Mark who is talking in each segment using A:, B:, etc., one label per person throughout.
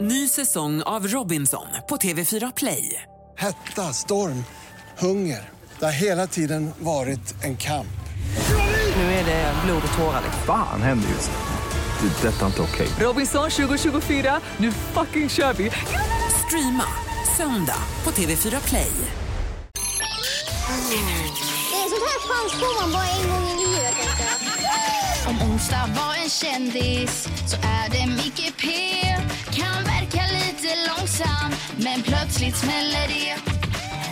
A: Ny säsong av Robinson på TV4 Play.
B: Hetta, storm, hunger. Det har hela tiden varit en kamp.
A: Nu är det blod och tårar. liksom.
C: Fan händer just nu. Det. är Detta är inte okej.
A: Robinson 2024, nu fucking kör vi! Streama söndag på TV4 Play.
D: Det är sånt här chans får man bara en gång i livet. tänkte jag.
E: Om onsdag var en kändis så är det Micke P Kan verka lite långsam men plötsligt smäller det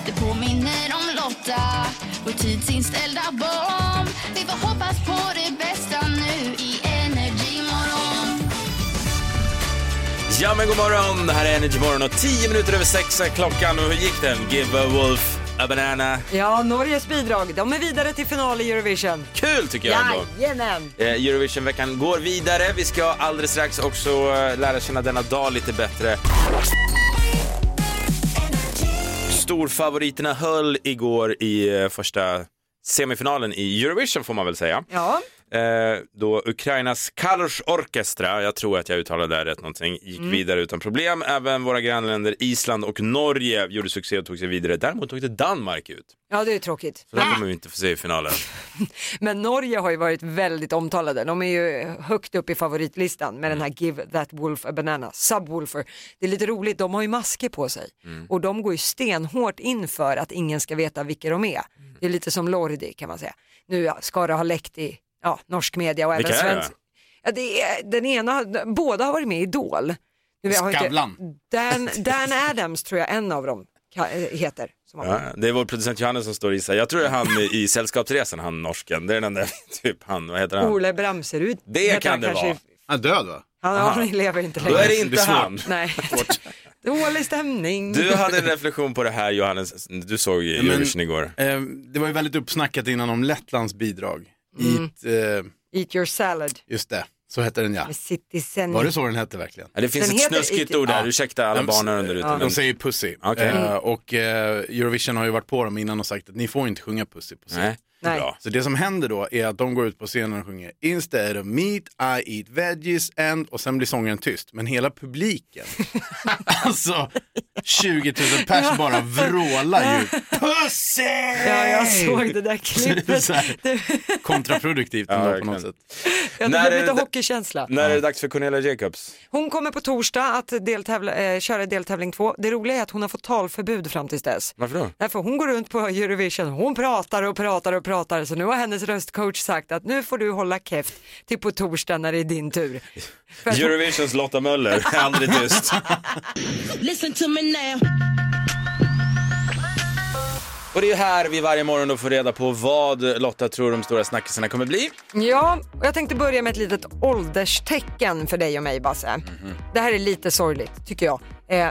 E: Det påminner om Lotta, vår tidsinställda bomb Vi får hoppas på det bästa nu i Energy morgon
F: Ja men god morgon, det här är Energy Morgon och 10 minuter över 6 är klockan och hur gick den? Give a wolf a banana.
G: Ja, Norges bidrag. De är vidare till final i Eurovision.
F: Kul tycker jag ändå.
G: Jajamän!
F: Eh, Eurovisionveckan går vidare. Vi ska alldeles strax också eh, lära känna denna dag lite bättre. Storfavoriterna höll igår i eh, första semifinalen i Eurovision får man väl säga.
G: Ja,
F: Eh, då Ukrainas Kalsh Orkestra, jag tror att jag uttalade det här rätt någonting, gick
G: Mm.
F: vidare utan problem. Även våra grannländer Island och Norge gjorde succé och tog sig vidare. Däremot åkte Danmark ut.
G: ja det är tråkigt.
F: Så det kommer vi inte få se i finalen.
G: Men Norge har ju varit väldigt omtalade. De är ju högt upp i favoritlistan med
F: Mm.
G: den här Give That Wolf a Banana, Subwoolfer. Det är lite roligt, de har ju masker på sig
F: Mm.
G: och de går ju stenhårt in för att ingen ska veta vilka de är.
F: Mm.
G: Det är lite som Lordi kan man säga. Nu ja, ska det ha läckt i ja, norsk media och även
F: Vilka är det?
G: svensk. Ja, det är, den ena, båda har varit med i Idol. Nu, jag har inte-
H: Skavlan.
G: Dan, Dan Adams tror jag en av dem ka- heter. Som har
F: Ja, det är vår producent Johannes som står i sig. Jag tror det är han i Sällskapsresan, han norsken. Det är den där, typ han, vad heter han?
G: Ole Bramserud.
F: Det
G: heter
F: kan
G: han
F: det
G: kanske.
F: vara.
H: Han är död va?
G: Han, han lever inte
F: Då
G: längre.
F: är det inte
H: Det är svårt.
F: han.
G: Nej. Dålig stämning.
F: Du hade en reflektion på det här Johannes, du såg
H: men-
F: Eurovision igår.
H: Eh, det var ju väldigt uppsnackat innan om Lettlands bidrag.
G: Mm.
H: Eat, eh,
G: Eat your salad
H: just det, så hette den ja.
G: med citizen.
H: Var det så den hette verkligen?
F: Ja, det finns
G: Den
F: ett
G: heter
F: snuskigt
G: Ike-
F: ord här,
H: Ja.
F: ursäkta alla
H: De-
F: barn här under ute. men-
H: De säger pussy.
F: Okej.
H: Eh, och eh, Eurovision har ju varit på dem innan och sagt att ni får inte sjunga pussy på scen.
F: Nej, det är
G: Nej.
F: bra.
H: Så det som händer då är att de går ut på scenen och sjunger Instead of meat I eat veggies and och sen blir sångaren tyst. Men hela publiken, alltså 20 000 pers bara vrålar ju Pussy!
G: Ja, jag såg det där
H: Så det är
G: klippet.
H: så här kontraproduktivt
F: Ja,
H: ändå på
F: verkligen.
H: något sätt.
G: Jag
F: När
G: hade
F: är
G: lite
F: det-
G: hockeykänsla.
F: När är det dags för Cornelia Jacobs?
G: Hon kommer på torsdag att deltävla, eh, köra deltävling två. Det roliga är att hon har fått talförbud fram tills dess.
F: Varför då?
G: Därför hon går runt på Eurovision, hon pratar och pratar och pratar så nu har hennes röstcoach sagt att nu får du hålla käft till på torsdag när det är din tur. För att hon-
F: Eurovisions Lotta Möller, aldrig tyst.
I: Listen to me now.
F: Och det är ju här vi varje morgon då får reda på vad Lotta tror de stora snackisarna kommer bli.
G: Ja, och jag tänkte börja med ett litet ålderstecken för dig och mig Basse.
F: Mhm.
G: Det här är lite sorgligt tycker jag. Eh,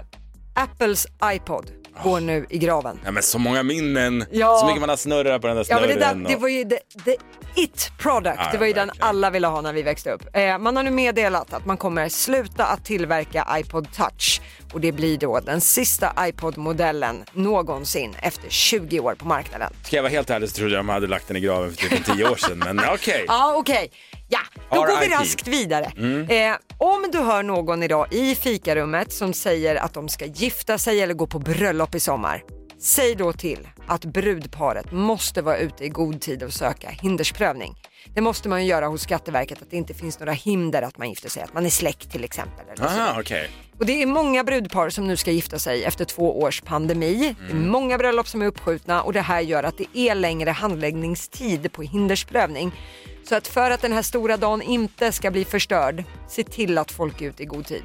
G: Apples iPod
F: Ah.
G: går nu i graven.
F: Ja, men så många minnen,
G: Ja.
F: så mycket man har snurrat på den där
G: Ja, men
F: snurren.
G: det, där, det var ju the, the it product.
F: Ja,
G: det var ju
F: verkligen.
G: den alla ville ha när vi växte upp. Eh, man har nu meddelat att man kommer sluta att tillverka iPod touch och det blir då den sista iPod-modellen någonsin efter 20 år på marknaden.
F: Ska jag vara helt ärlig så trodde jag man hade lagt den i graven för typ en tio år sedan, men okej.
G: Ja, okej. Ja, då går vi
F: RIP.
G: raskt vidare.
F: Mm.
G: Eh, om du hör någon idag i fikarummet som säger att de ska gifta sig eller gå på bröllop i sommar. Säg då till att brudparet måste vara ute i god tid och söka hindersprövning. Det måste man ju göra hos Skatteverket, att det inte finns några hinder att man gifter sig, att man är släkt till exempel. Eller så.
F: Aha, okej.
G: Och det är många brudpar som nu ska gifta sig efter två års pandemi. Det är många bröllop som är uppskjutna och det här gör att det är längre handläggningstid på hindersprövning. Så att för att den här stora dagen inte ska bli förstörd, se till att folk är ute i god tid.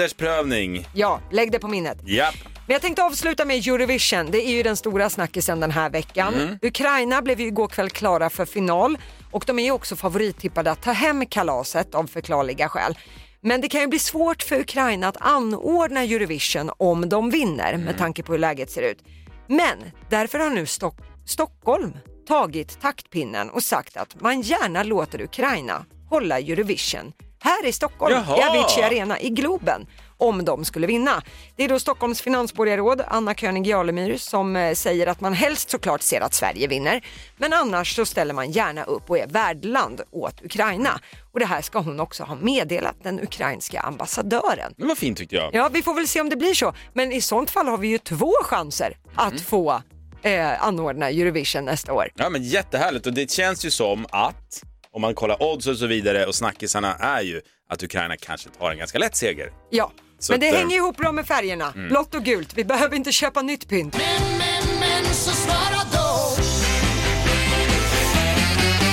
F: Hindersprövning.
G: Ja, lägg det på minnet.
F: Japp.
G: Men jag tänkte avsluta med Eurovision. Det är ju den stora snackisen den här veckan. Ukraina blev ju igår kväll klara för final och de är ju också favorittippade att ta hem kalaset av förklarliga skäl. Men det kan ju bli svårt för Ukraina att anordna Eurovision om de vinner med tanke på hur läget ser ut. Men därför har nu Stock- Stockholm tagit taktpinnen och sagt att man gärna låter Ukraina hålla Eurovision här i Stockholm,
F: Jaha.
G: i Avicii Arena, i Globen. om de skulle vinna. Det är då Stockholms finansborgarråd Anna König Jarlemyr som eh, säger att man helst såklart ser att Sverige vinner. Men annars så ställer man gärna upp och är värdland åt Ukraina. Och det här ska hon också ha meddelat den ukrainska ambassadören.
F: Men vad fint tyckte jag.
G: Ja, vi får väl se om det blir så. Men i sånt fall har vi ju två chanser
F: Mm.
G: att få eh, anordna Eurovision nästa år.
F: Ja, men jättehärligt. Och det känns ju som att, om man kollar odds och så vidare och snackisarna är ju att Ukraina kanske tar en ganska lätt seger.
G: Ja,
F: Så
G: men det
F: att, eh, Mm.
G: hänger ihop bra med färgerna. Blått och gult. Vi behöver inte köpa nytt pynt.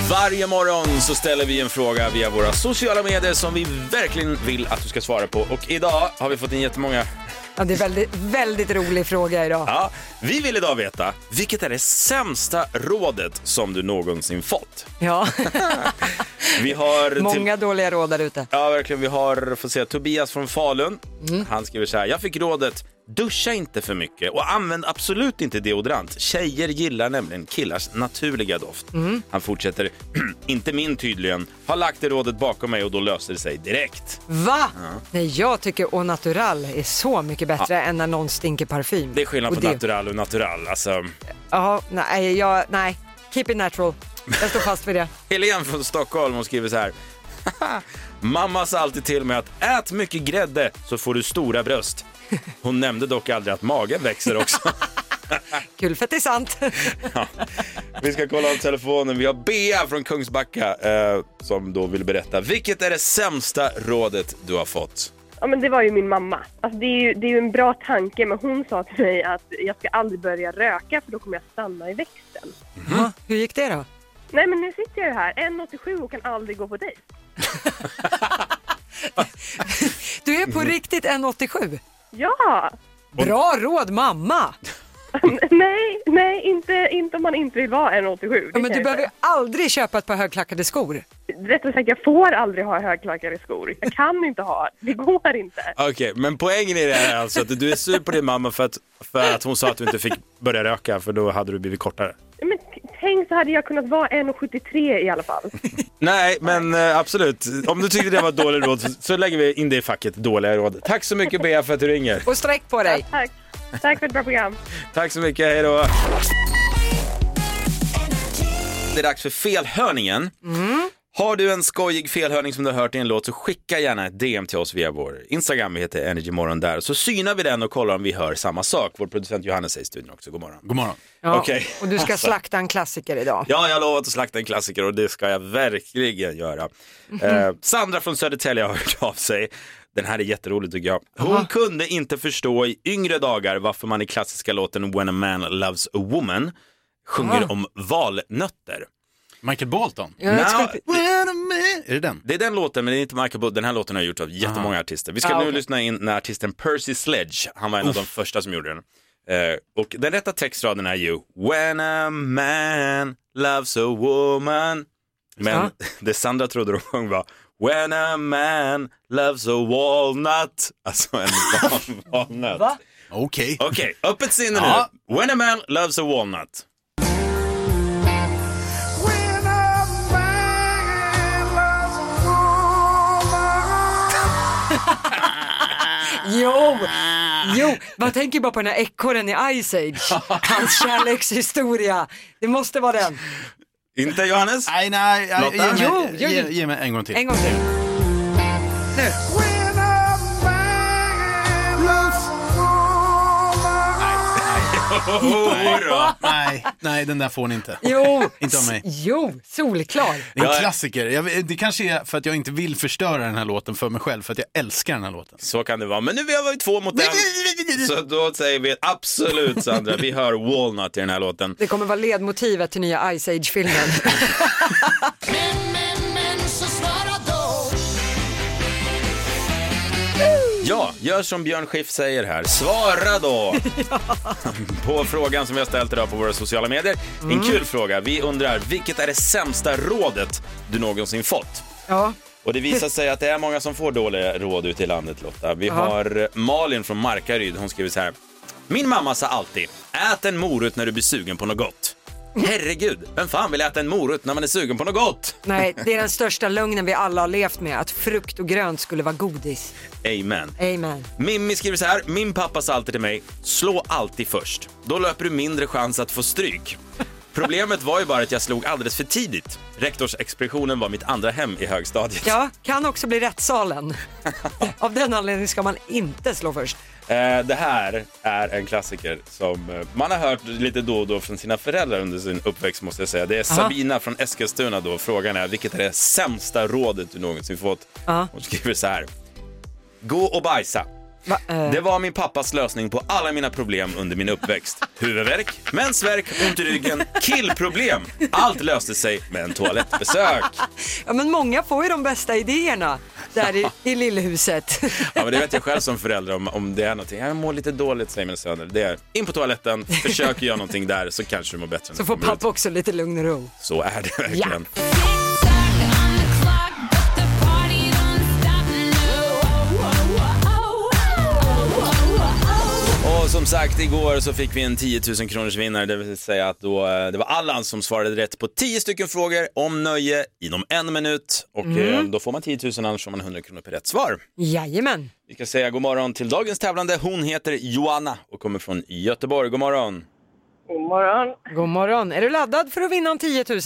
F: Varje morgon så ställer vi en fråga via våra sociala medier som vi verkligen vill att du ska svara på. Och idag har vi fått in jättemånga.
G: Ja, det är väldigt, väldigt rolig fråga idag.
F: Ja, vi vill idag veta, vilket är det sämsta rådet som du någonsin fått?
G: Ja,
F: Vi har... till-
G: många dåliga råd där ute.
F: Ja, verkligen. Vi har får se, Tobias från Falun.
G: Mm.
F: Han skriver så här. Jag fick rådet duscha inte för mycket och använd absolut inte deodorant. Tjejer gillar nämligen killars naturliga doft.
G: Mm.
F: Han fortsätter. inte min tydligen. Har lagt det rådet bakom mig och då löser det sig direkt.
G: Va? Nej, jag tycker Au Natural är så mycket bättre än när någon stinker parfym.
F: Det är skillnad på
G: Och det-
F: natural och natural. Alltså,
G: Ja, nej, jag, nej, keep it natural. Jag står fast vid det.
F: Helene från Stockholm hon skriver så här. Mamma sa alltid till mig att ät mycket grädde så får du stora bröst. Hon nämnde dock aldrig att magen växer också.
G: Kul för att det är sant.
F: Mm. Ja. Vi ska kolla om telefonen. Vi har Bea från Kungsbacka eh, som då vill berätta. Vilket är det sämsta rådet du har fått?
J: Ja, men det var ju min mamma. Alltså, det, är ju, det är ju en bra tanke, men hon sa till mig att jag ska aldrig börja röka för då kommer jag stanna i växten.
G: Hur gick det då?
J: Nej, men nu sitter jag ju här, 1,87 och kan aldrig gå på dejt.
G: Du är på
F: Mm.
G: riktigt 1,87.
J: Ja!
G: Bra råd mamma!
J: nej, nej, inte, inte om man inte vill vara 1,87. det
G: Ja,
J: kan
G: men du
J: jag
G: behöver ju
J: säga.
G: aldrig köpa ett par högklackade skor.
J: Rättare sagt, jag får aldrig ha högklackade skor. Jag kan inte ha, det går inte.
F: Okej, men poängen i det här är alltså att du är sur på din mamma för att, för att hon sa att du inte fick börja röka för då hade du blivit kortare.
J: Ja, Men t- tänk så hade jag kunnat vara 1,73 i alla fall.
F: Nej, men eh, absolut. Om du tyckte det var ett dåligt råd så- så lägger vi in det i facket dåliga råd. Tack så mycket Bea för att du ringer.
G: Och sträck på dig.
J: Tack. Tack för ett bra program.
F: Tack så mycket, hej då. Det är dags för felhörningen. Har du en skojig felhörning som du har hört i en låt så skicka gärna ett DM till oss via vår Instagram. Vi heter Energymorgon där. Så synar vi den och kollar om vi hör samma sak. Vår producent Johannes är i studion också. God morgon.
H: God morgon.
G: Ja,
F: Okej. Alltså.
G: Och du ska slakta en klassiker idag.
F: Ja, jag har lovat att slakta en klassiker och det ska jag verkligen göra.
G: Mhm.
F: Eh, Sandra från Södertälje har hört av sig. Den här är jätterolig tycker jag. Hon kunde inte förstå i yngre dagar varför man i klassiska låten When a man loves a woman sjunger om valnötter.
H: Michael Bolton.
G: Ja, jag
F: Now-
G: tror-
H: When a man- Är det den?
F: Det är den låten, men det är inte Michael Bublé. Den här låten har gjorts av jättemånga artister. Vi ska
G: Ah,
F: nu
G: okej.
F: lyssna in när artisten Percy Sledge, han var en av de första som gjorde den. Eh, och den rätta textraden är ju When a man loves a woman. Men
G: Ja.
F: det Sandra trodde de sjöng var When a man loves a walnut. Alltså en val- valnöt.
G: Va?
H: Okej.
F: Okej, öppet sinne
H: Ja.
F: nu. When a man loves a walnut.
G: Jo,
H: Ah,
G: jo, man tänker bara på den här ekorren i Ice Age. Hans kärlekshistoria. Det måste vara den.
F: Inte Johannes?
H: Nej, nej. nej,
F: Lotta?
H: Ge mig,
G: Jo, jo,
H: ge,
G: jo.
H: ge mig en gång till.
G: En gång till.
F: Oh, då.
H: Nej, nej, den där får ni inte.
G: Jo,
H: Inte av mig.
G: jo, solklar.
H: Det
F: Jag
H: är en
F: är-
H: klassiker. Jag, det kanske är för att jag inte vill förstöra den här låten för mig själv, för att jag älskar den här låten.
F: Så kan det vara. Men nu har vi två mot en. Så då säger vi absolut Sandra, vi hör Walnut i den här låten.
G: Det kommer vara ledmotivet till nya Ice Age-filmen.
F: Ja, gör som Björn Schiff säger här. Svara då! på frågan som vi har ställt idag på våra sociala medier. En kul fråga. Vi undrar, vilket är det sämsta rådet du någonsin fått?
G: Ja,
F: Och det visar sig att det är många som får dåliga råd ute i landet Lotta. Vi har eh, Malin från Markaryd, hon skriver så här. Min mamma sa alltid, ät en morot när du blir sugen på något gott. Herregud, vem fan vill äta en morot när man är sugen på något gott?
G: Nej, det är den största lögnen vi alla har levt med, att frukt och grönt skulle vara godis.
F: Amen.
G: Amen.
F: Mimmi skriver så här, min pappa sa alltid till mig, slå alltid först. Då löper du mindre chans att få stryk. Problemet var ju bara att jag slog alldeles för tidigt. Rektorsexpeditionen var mitt andra hem i högstadiet.
G: Ja, kan också bli rättssalen. Av den anledningen ska man inte slå först.
F: Eh, det här är en klassiker som eh, man har hört lite då och då från sina föräldrar under sin uppväxt måste jag säga. Det är Sabina från Eskilstuna då. Frågan är vilket är det sämsta rådet du någonsin fått?
G: Aha.
F: Hon skriver så här. Gå och bajsa.
G: Va, eh,
F: Det var min pappas lösning på alla mina problem under min uppväxt. Huvudvärk, mensvärk, ont i ryggen, killproblem. Allt löste sig med en toalettbesök.
G: ja, men många får ju de bästa idéerna där i, i lillhuset.
F: Ja, men det vet jag själv som förälder om, om det är någonting. Jag mår lite dåligt säger min söner. Det är in på toaletten, försök göra någonting där så kanske du mår bättre. när
G: Så
F: du
G: får
F: kommer ut.
G: pappa också lite lugn och ro.
F: Så är det verkligen.
E: Oh,
F: Och som sagt, igår så fick vi en 10 000 kronors vinnare, det vill säga att då, eh, det var Allan som svarade rätt på 10 stycken frågor om nöje inom en minut. Och
G: Mm.
F: eh, då får man 10 000, annars får man 100 kronor per rätt svar.
G: Jajamän.
F: Vi ska säga god morgon till dagens tävlande. Hon heter Joanna och kommer från Göteborg. God morgon!
J: God morgon.
G: God morgon. Är du laddad för att vinna en 10 000?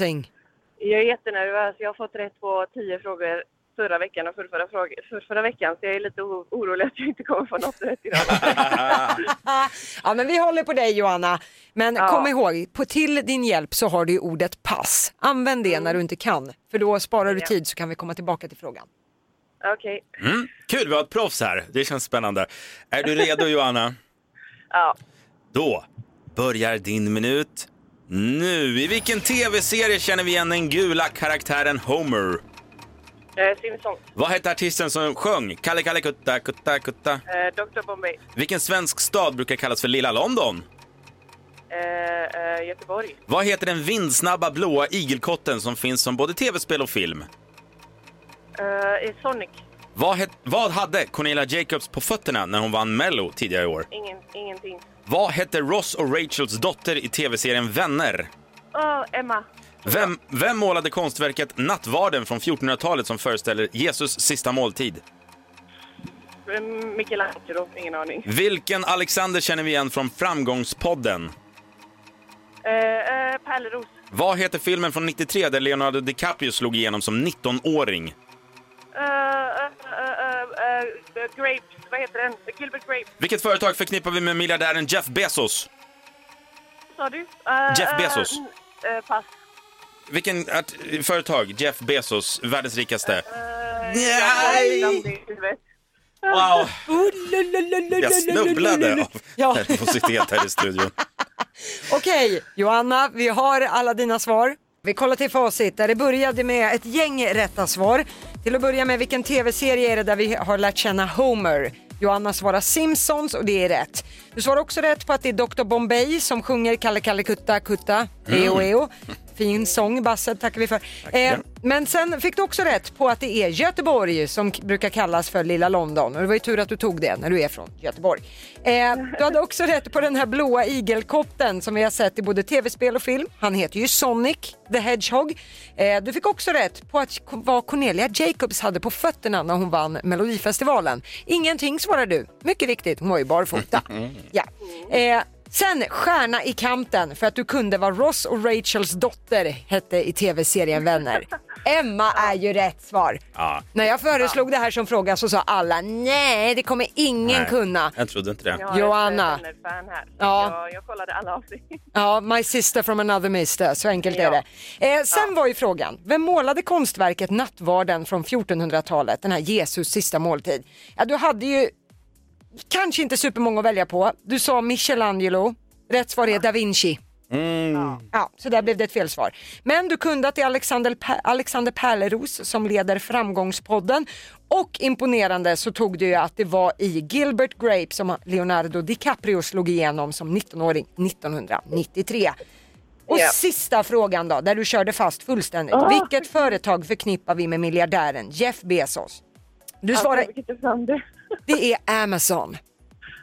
J: Jag är jättenervös. Jag har fått rätt på tio frågor förra veckan och för förra, fråga, för förra veckan så jag är lite o- orolig att jag inte kommer få något rätt idag.
G: Ja, men vi håller på dig Johanna. Men kom ihåg, på till din hjälp så har du ju ordet pass. Använd det när du inte kan, för då sparar du tid så kan vi komma tillbaka till frågan.
J: Okej.
F: Mm. Kul, vi har ett proffs här. Det känns spännande. Är du redo Joanna?
J: Ja.
F: Då börjar din minut nu. I vilken tv-serie känner vi igen den gula karaktären Homer?
J: Eh, Simpsons.
F: Vad hette artisten som sjöng Kalle Kalle Kutta Kutta Kutta?
J: Eh, Dr Bombay.
F: Vilken svensk stad brukar kallas för Lilla London?
J: Eh, eh, Göteborg.
F: Vad heter den vindsnabba blåa igelkotten som finns som både tv-spel och film?
J: Eh, i Sonic.
F: Vad, het, vad hade Cornelia Jacobs på fötterna när hon vann Mello tidigare i år?
J: Ingen, ingenting.
F: Vad hette Ross och Rachels dotter i tv-serien Vänner?
J: Åh, Emma.
F: Vem, vem målade konstverket Nattvarden från 1400-talet som föreställer Jesus sista måltid?
J: Eh, Michelangelo. Ingen aning.
F: Vilken Alexander känner vi igen från Framgångspodden?
J: Eh, eh, Pärleros.
F: Vad heter filmen från 93 där Leonardo DiCaprio slog igenom som 19-åring?
J: Eh, eh, eh, eh, eh, eh, grapes. Vad heter den? Gilbert Grape.
F: Vilket företag förknippar vi med miljardären Jeff Bezos?
J: Sa du? Eh,
F: Jeff
J: eh,
F: Bezos.
J: eh, pass.
F: Vilken art, företag? Jeff Bezos, världens rikaste.
J: Nej!
F: Wow, jag
G: Jag
F: snubblade av
G: Ja.
F: nervositet här i studion.
G: Okej, Johanna, vi har alla dina svar. Vi kollar till facit där det började med ett gäng rätta svar. Till att börja med, vilken tv-serie är det där vi har lärt känna Homer? Johanna svarar Simpsons och det är rätt. Du svarar också rätt på att det är Dr Bombay som sjunger Kalle Kalle Kutta Kutta, E Eo Eo. Fin sång Basse, tackar vi för. Eh, men sen fick du också rätt på att det är Göteborg som k- brukar kallas för Lilla London. Och det var ju tur att du tog det när du är från Göteborg. Eh, du hade också rätt på den här blåa igelkotten som vi har sett i både tv-spel och film. Han heter ju Sonic the Hedgehog. Eh, du fick också rätt på att, vad Cornelia Jacobs hade på fötterna när hon vann Melodifestivalen. Ingenting svarar du. Mycket riktigt, hon var ju barfota. Ja. Eh, Sen stjärna i kanten för att du kunde vara Ross och Rachels dotter hette i tv-serien Vänner. Emma är ju rätt svar.
F: Ja.
G: När jag föreslog det här som fråga så sa alla nej, det kommer ingen
F: Nej,
G: kunna.
F: Jag trodde inte det.
G: Joanna.
J: Jag fan här.
G: Ja.
J: Jag, jag kollade alla avsnitt.
G: Ja, my sister from another mister, så enkelt är det. Eh, sen var ju frågan, vem målade konstverket Nattvarden från 1400-talet, den här Jesus sista måltid? Ja, du hade ju kanske inte supermånga att välja på. Du sa Michelangelo, rätt svar är Da Vinci. Ja, så där blev det ett felsvar. Men du kunde att det är Alexander, pa- Alexander Pärleros som leder Framgångspodden. Och imponerande så tog du ju att det var i Gilbert Grape som Leonardo DiCaprio slog igenom som 19-åring 1993. Och
J: Ja.
G: sista frågan då, där du körde fast fullständigt. Vilket företag förknippar vi med miljardären Jeff Bezos? Du svarar,
J: Alltså, Jag fick inte fram det.
G: det är Amazon.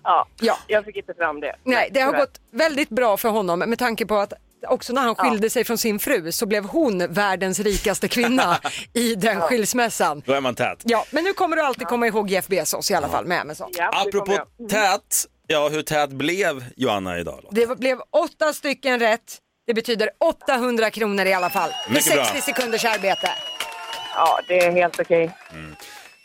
J: Ja.
G: Ja.
J: Jag fick inte fram det.
G: Nej, det har
J: Tyvärr.
G: gått väldigt bra för honom med tanke på att också när han skilde sig från sin fru så blev hon världens rikaste kvinna i den skilsmässan.
F: Då är man tät.
G: Ja, men nu kommer du alltid komma ihåg Jeff Bezos i alla fall med Amazon.
J: Ja, det
F: Apropå
J: kommer jag.
G: Mm.
F: tät, ja hur tät blev Joanna idag? Då?
G: Det blev åtta stycken rätt. Det betyder 800 kronor i alla fall. Med
F: Mycket bra.
G: 60 sekunders arbete.
J: Ja, det är helt okej.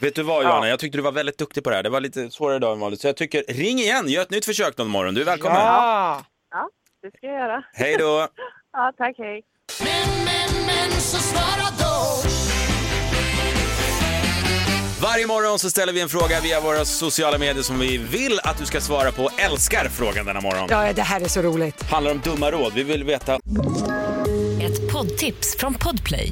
F: Vet du vad Joanna, jag tyckte du var väldigt duktig på det här. Det var lite svårare idag än vanligt. Så jag tycker, ring igen, gör ett nytt försök någon morgon. Du är välkommen.
G: Ja.
J: Ja, det ska jag göra.
F: Hej då!
J: Ja, tack, hej.
E: Men, men, men så svara då
F: Varje morgon så ställer vi en fråga via våra sociala medier som vi vill att du ska svara på. Älskar frågan denna morgon.
G: ja, det här är så roligt.
F: Handlar om dumma råd. Vi vill veta
K: Ett poddtips från Podplay.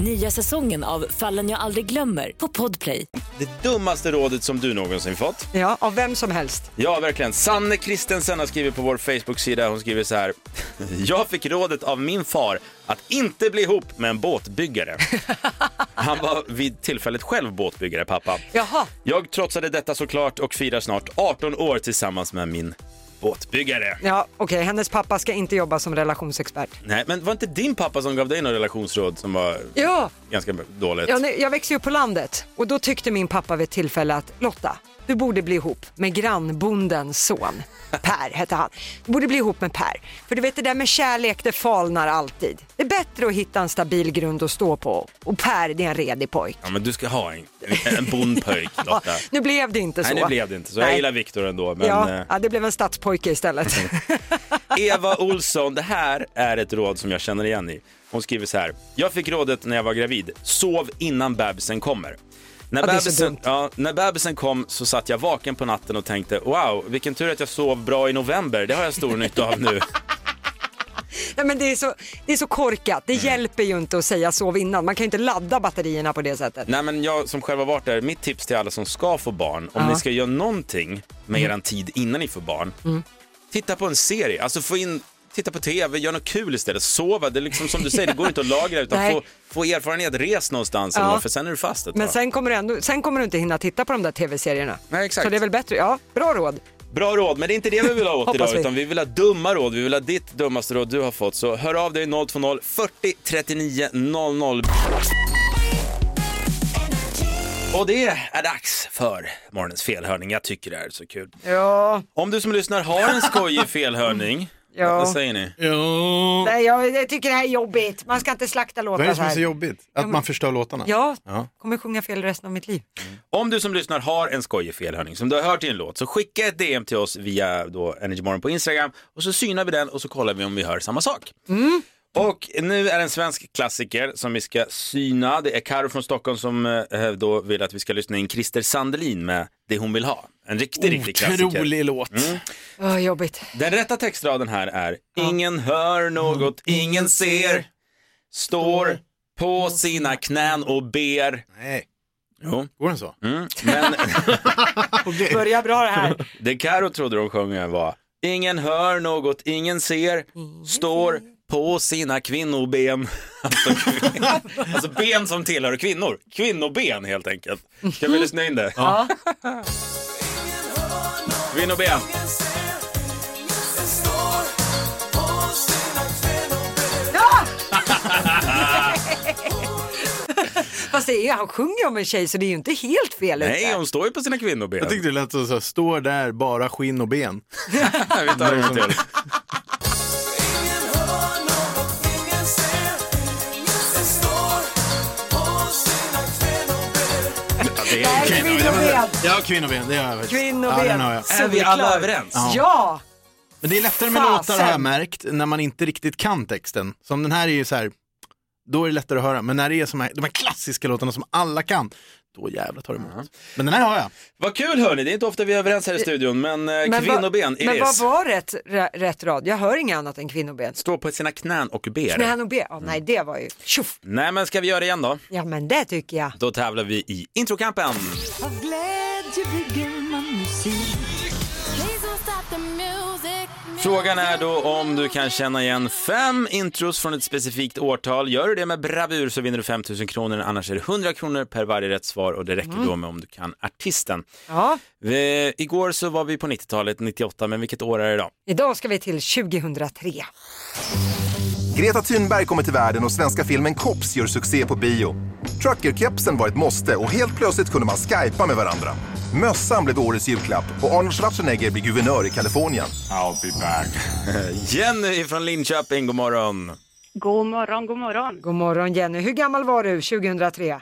K: Nya säsongen av Fallen jag aldrig glömmer på Podplay.
F: det dummaste rådet som du någonsin fått.
G: Ja, av vem som helst.
F: Ja, verkligen. Sanne Kristensen har skrivit på vår Facebook-sida. Hon skriver så här. Jag fick rådet av min far att inte bli ihop med en båtbyggare. Han var vid tillfället själv båtbyggare, pappa.
G: Jaha,
F: Jag trotsade detta såklart och firar snart 18 år tillsammans med min båtbyggare.
G: ja, okej, hennes pappa ska inte jobba som relationsexpert.
F: Nej, men var inte din pappa som gav dig några relationsråd som var
G: Ja,
F: ganska dåligt?
G: jag, jag växte ju upp på landet och då tyckte min pappa vid ett tillfälle att Lotta, du borde bli ihop med grannbondens son. Per hette han. Du borde bli ihop med Per. För du vet det där med kärlek, det falnar alltid. Det är bättre att hitta en stabil grund att stå på. Och Per, det är en redig pojk.
F: Ja, men du ska ha en, en bondpöjk,
G: Ja,
F: Lotta.
G: nu blev det inte så.
F: Nej, nu blev det inte så. Jag
G: Nej.
F: gillar Viktor ändå, men...
G: ja,
F: eh,
G: ja, det blev en stadspojke istället.
F: Eva Olsson, det här är ett råd som jag känner igen i. Hon skriver så här. Jag fick rådet när jag var gravid. Sov innan bebisen kommer. När
G: Ja, det är så
F: bebisen,
G: dumt.
F: ja, när bebisen kom så satt jag vaken på natten och tänkte wow, vilken tur att jag sov bra i november. Det har jag stor nytta av nu.
G: Nej, men det, är så, det är så korkat.
F: Mm.
G: Det hjälper ju inte att säga sov innan. Man kan ju inte ladda batterierna på det sättet.
F: Nej, men jag som själv har varit där, mitt tips till alla som ska få barn, om
G: Ja. Mm.
F: ni ska göra någonting med eran tid innan ni får barn, titta på en serie. Alltså få in, titta på tv, gör något kul istället. Sova, det är liksom som du säger, det går inte att lagra utan
G: Nej.
F: få, få erfarenhet, res någonstans,
G: Ja.
F: eller något, för sen är du fast ett
G: Men
F: tag.
G: sen kommer, du ändå, sen kommer du inte hinna titta på de där tv-serierna.
F: Nej, exakt.
G: Så det är väl bättre. Ja, bra råd.
F: Bra råd, men det är inte det vi vill ha åt
G: Hoppas
F: idag,
G: vi.
F: utan vi vill ha dumma råd. Vi vill ha ditt dummaste råd du har fått. Så hör av dig 020 40 39 00. Och det är dags för morgonens felhörning. Jag tycker det här är så kul.
G: Ja,
F: Om du som lyssnar har en skojig felhörning,
G: Ja.
F: vad säger ni?
H: Ja.
G: nej, jag, jag tycker det här är jobbigt. Man ska inte slakta
H: Vad är
G: låtar
H: det
G: så
H: som är så
G: här.
H: jobbigt? Att man förstör låtarna?
G: Ja,
H: Ja.
G: kommer sjunga fel resten av mitt liv.
F: Om du som lyssnar har en skojig felhörning som du har hört i en låt så skicka ett DM till oss via då Energymorgon på Instagram och så synar vi den och så kollar vi om vi hör samma sak. Och nu är det en svensk klassiker som vi ska syna. Det är Karo från Stockholm som eh, då vill att vi ska lyssna in Christer Sandelin med Det hon vill ha. En riktig, riktig klassiker. Mm.
H: Otrolig låt.
G: Oh, jobbigt.
F: Den rätta textraden här är Ingen hör något, ingen ser, står på sina knän och ber.
H: Nej,
F: Jo,
H: går den så?
F: mm. men
H: Okej.
G: Börja bra det här.
F: Det Karo trodde de sjöng var Ingen hör något, ingen ser, står på sina kvinnoben. Alltså, kvin- alltså ben som tillhör kvinnor. Kvinnoben helt enkelt. Kan vi lyssna in det?
G: Ja.
F: Kvinnoben.
G: Fast det är, ju- han sjunger om en tjej så det är ju inte helt fel
F: Nej,
G: ute.
F: hon står ju på sina kvinnoben.
H: Jag tyckte det lät som så här, står där bara skinn och ben.
F: Vi tar liksom- det en till. Ja, det är
G: Nej, kvinnoben.
H: Ja, kvinnoben, det gör jag faktiskt.
G: Kvinnoben.
H: Ja, den har jag.
F: Är vi alla överens?
G: Ja!
H: Men det är lättare med
G: Fasen.
H: låtar har jag märkt, när man inte riktigt kan texten. Som den här är ju så här, då är det lättare att höra. Men när det är som här, de här klassiska låtarna som alla kan, då jävlar tar det emot. Men den här har jag.
F: Vad kul hörni, det är inte ofta vi är överens här i studion, men, eh,
G: Men vad-
F: kvinnoben,
G: Men vad
F: Iris,
G: var rätt, rä- rätt rad? Jag hör inget annat än kvinnoben.
F: står på sina knän och ber.
G: Knän och ben,
H: Mm.
G: Ja, nej det var ju tjoff.
F: Nej men ska vi göra det igen då?
G: Ja men det tycker jag.
F: Då tävlar vi i introkampen.
L: Av glädje bygger man musik.
F: Frågan är då om du kan känna igen fem intros från ett specifikt årtal. Gör du det med bravur så vinner du 5 000 kronor, annars är det 100 kronor per varje rätt svar och det räcker
G: Mm.
F: då med om du kan artisten.
G: Ja.
F: Vi, igår så var vi på 90-talet, 98, men vilket år är det idag?
G: Idag ska vi till 2003.
M: Greta Thunberg kommer till världen och svenska filmen Kops gör succé på bio. Truckerkepsen var ett måste och helt plötsligt kunde man skypa med varandra. Mössan blev årets julklapp och Arnold Schwarzenegger blir guvernör i Kalifornien. I'll be back.
F: Jenny från Linköping, god morgon.
N: God morgon, god morgon.
G: God morgon Jenny, hur gammal var du 2003?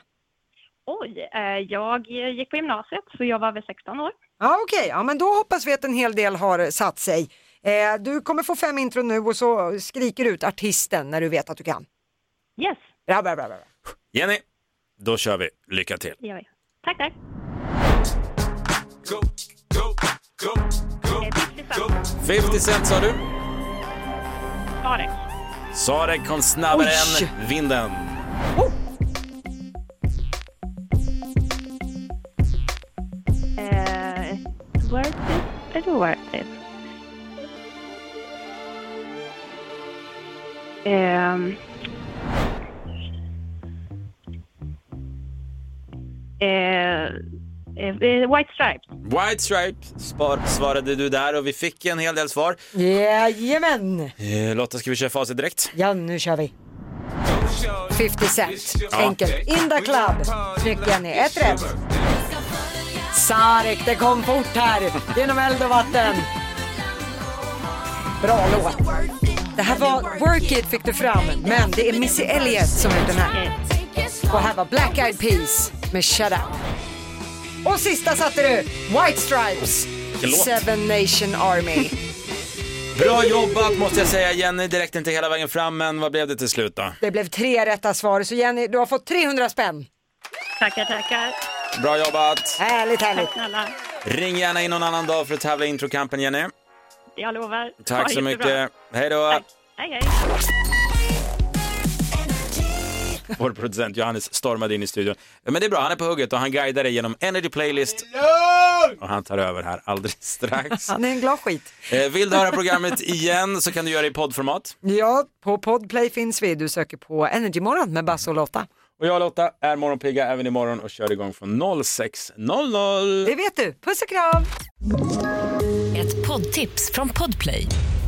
N: Oj, eh, jag gick på gymnasiet så jag var väl 16 år.
G: Ja okej, ja, men då hoppas vi att en hel del har satt sig. Eh, du kommer få fem intro nu och så skriker du ut artisten när du vet att du kan.
N: Yes.
G: Bra, bra, bra, bra.
F: Jenny, då kör vi. Lycka till.
N: Det gör jag. Tack, tack.
F: Go, go, go, go, go. 50 cent sa du.
N: Sarek.
F: Sarek kom snabbare
N: Oj.
F: än vinden.
N: Eh, worth it eller worth it? Ehm. Eh, eh, White Stripes.
F: White Stripe spar- svarade du där och vi fick en hel del svar.
G: Jajamän!
F: Eh, Lotta, ska vi köra facit direkt?
G: Ja, nu kör vi. 50 Cent,
F: Ja.
G: enkelt. In the club. Snyggt Jenny, ett rätt. Sarek, det kom fort här, genom eld och vatten. Bra låt. Det här var Work It fick du fram, men det är Missy Elliott som har gjort den här. Och här var Black Eyed Peas med Shut Up. Och sista satte du White Stripes,
F: Vilken låt.
G: Seven Nation Army.
F: Bra jobbat måste jag säga Jenny, direkt inte hela vägen fram men vad blev det till slut då?
G: Det blev tre rätta svar, så Jenny, du har fått 300 spänn.
N: Tackar, tackar.
F: Bra jobbat!
G: Härligt, härligt.
N: Snälla,
F: Ring gärna in någon annan dag för att tävla i introkampen Jenny.
N: jag lovar. Ha
F: Tack
N: det
F: så
N: jättebra.
F: mycket, hej då!
N: Hej, hej.
F: Vår producent Johannes stormade in i studion. Men det är bra, han är på hugget och han guidar dig genom Energy Playlist. Och han tar över här alldeles strax.
G: Han är en glad skit.
F: Eh, Vill du höra programmet igen så kan du göra det i poddformat.
G: Ja, på Podplay finns vi. Du söker på Energymorgon med Basse och Lotta.
F: Och jag och Lotta är morgonpigga även imorgon och kör igång från 06.00.
G: Det vet du. Puss och kram!
K: Ett poddtips från Podplay.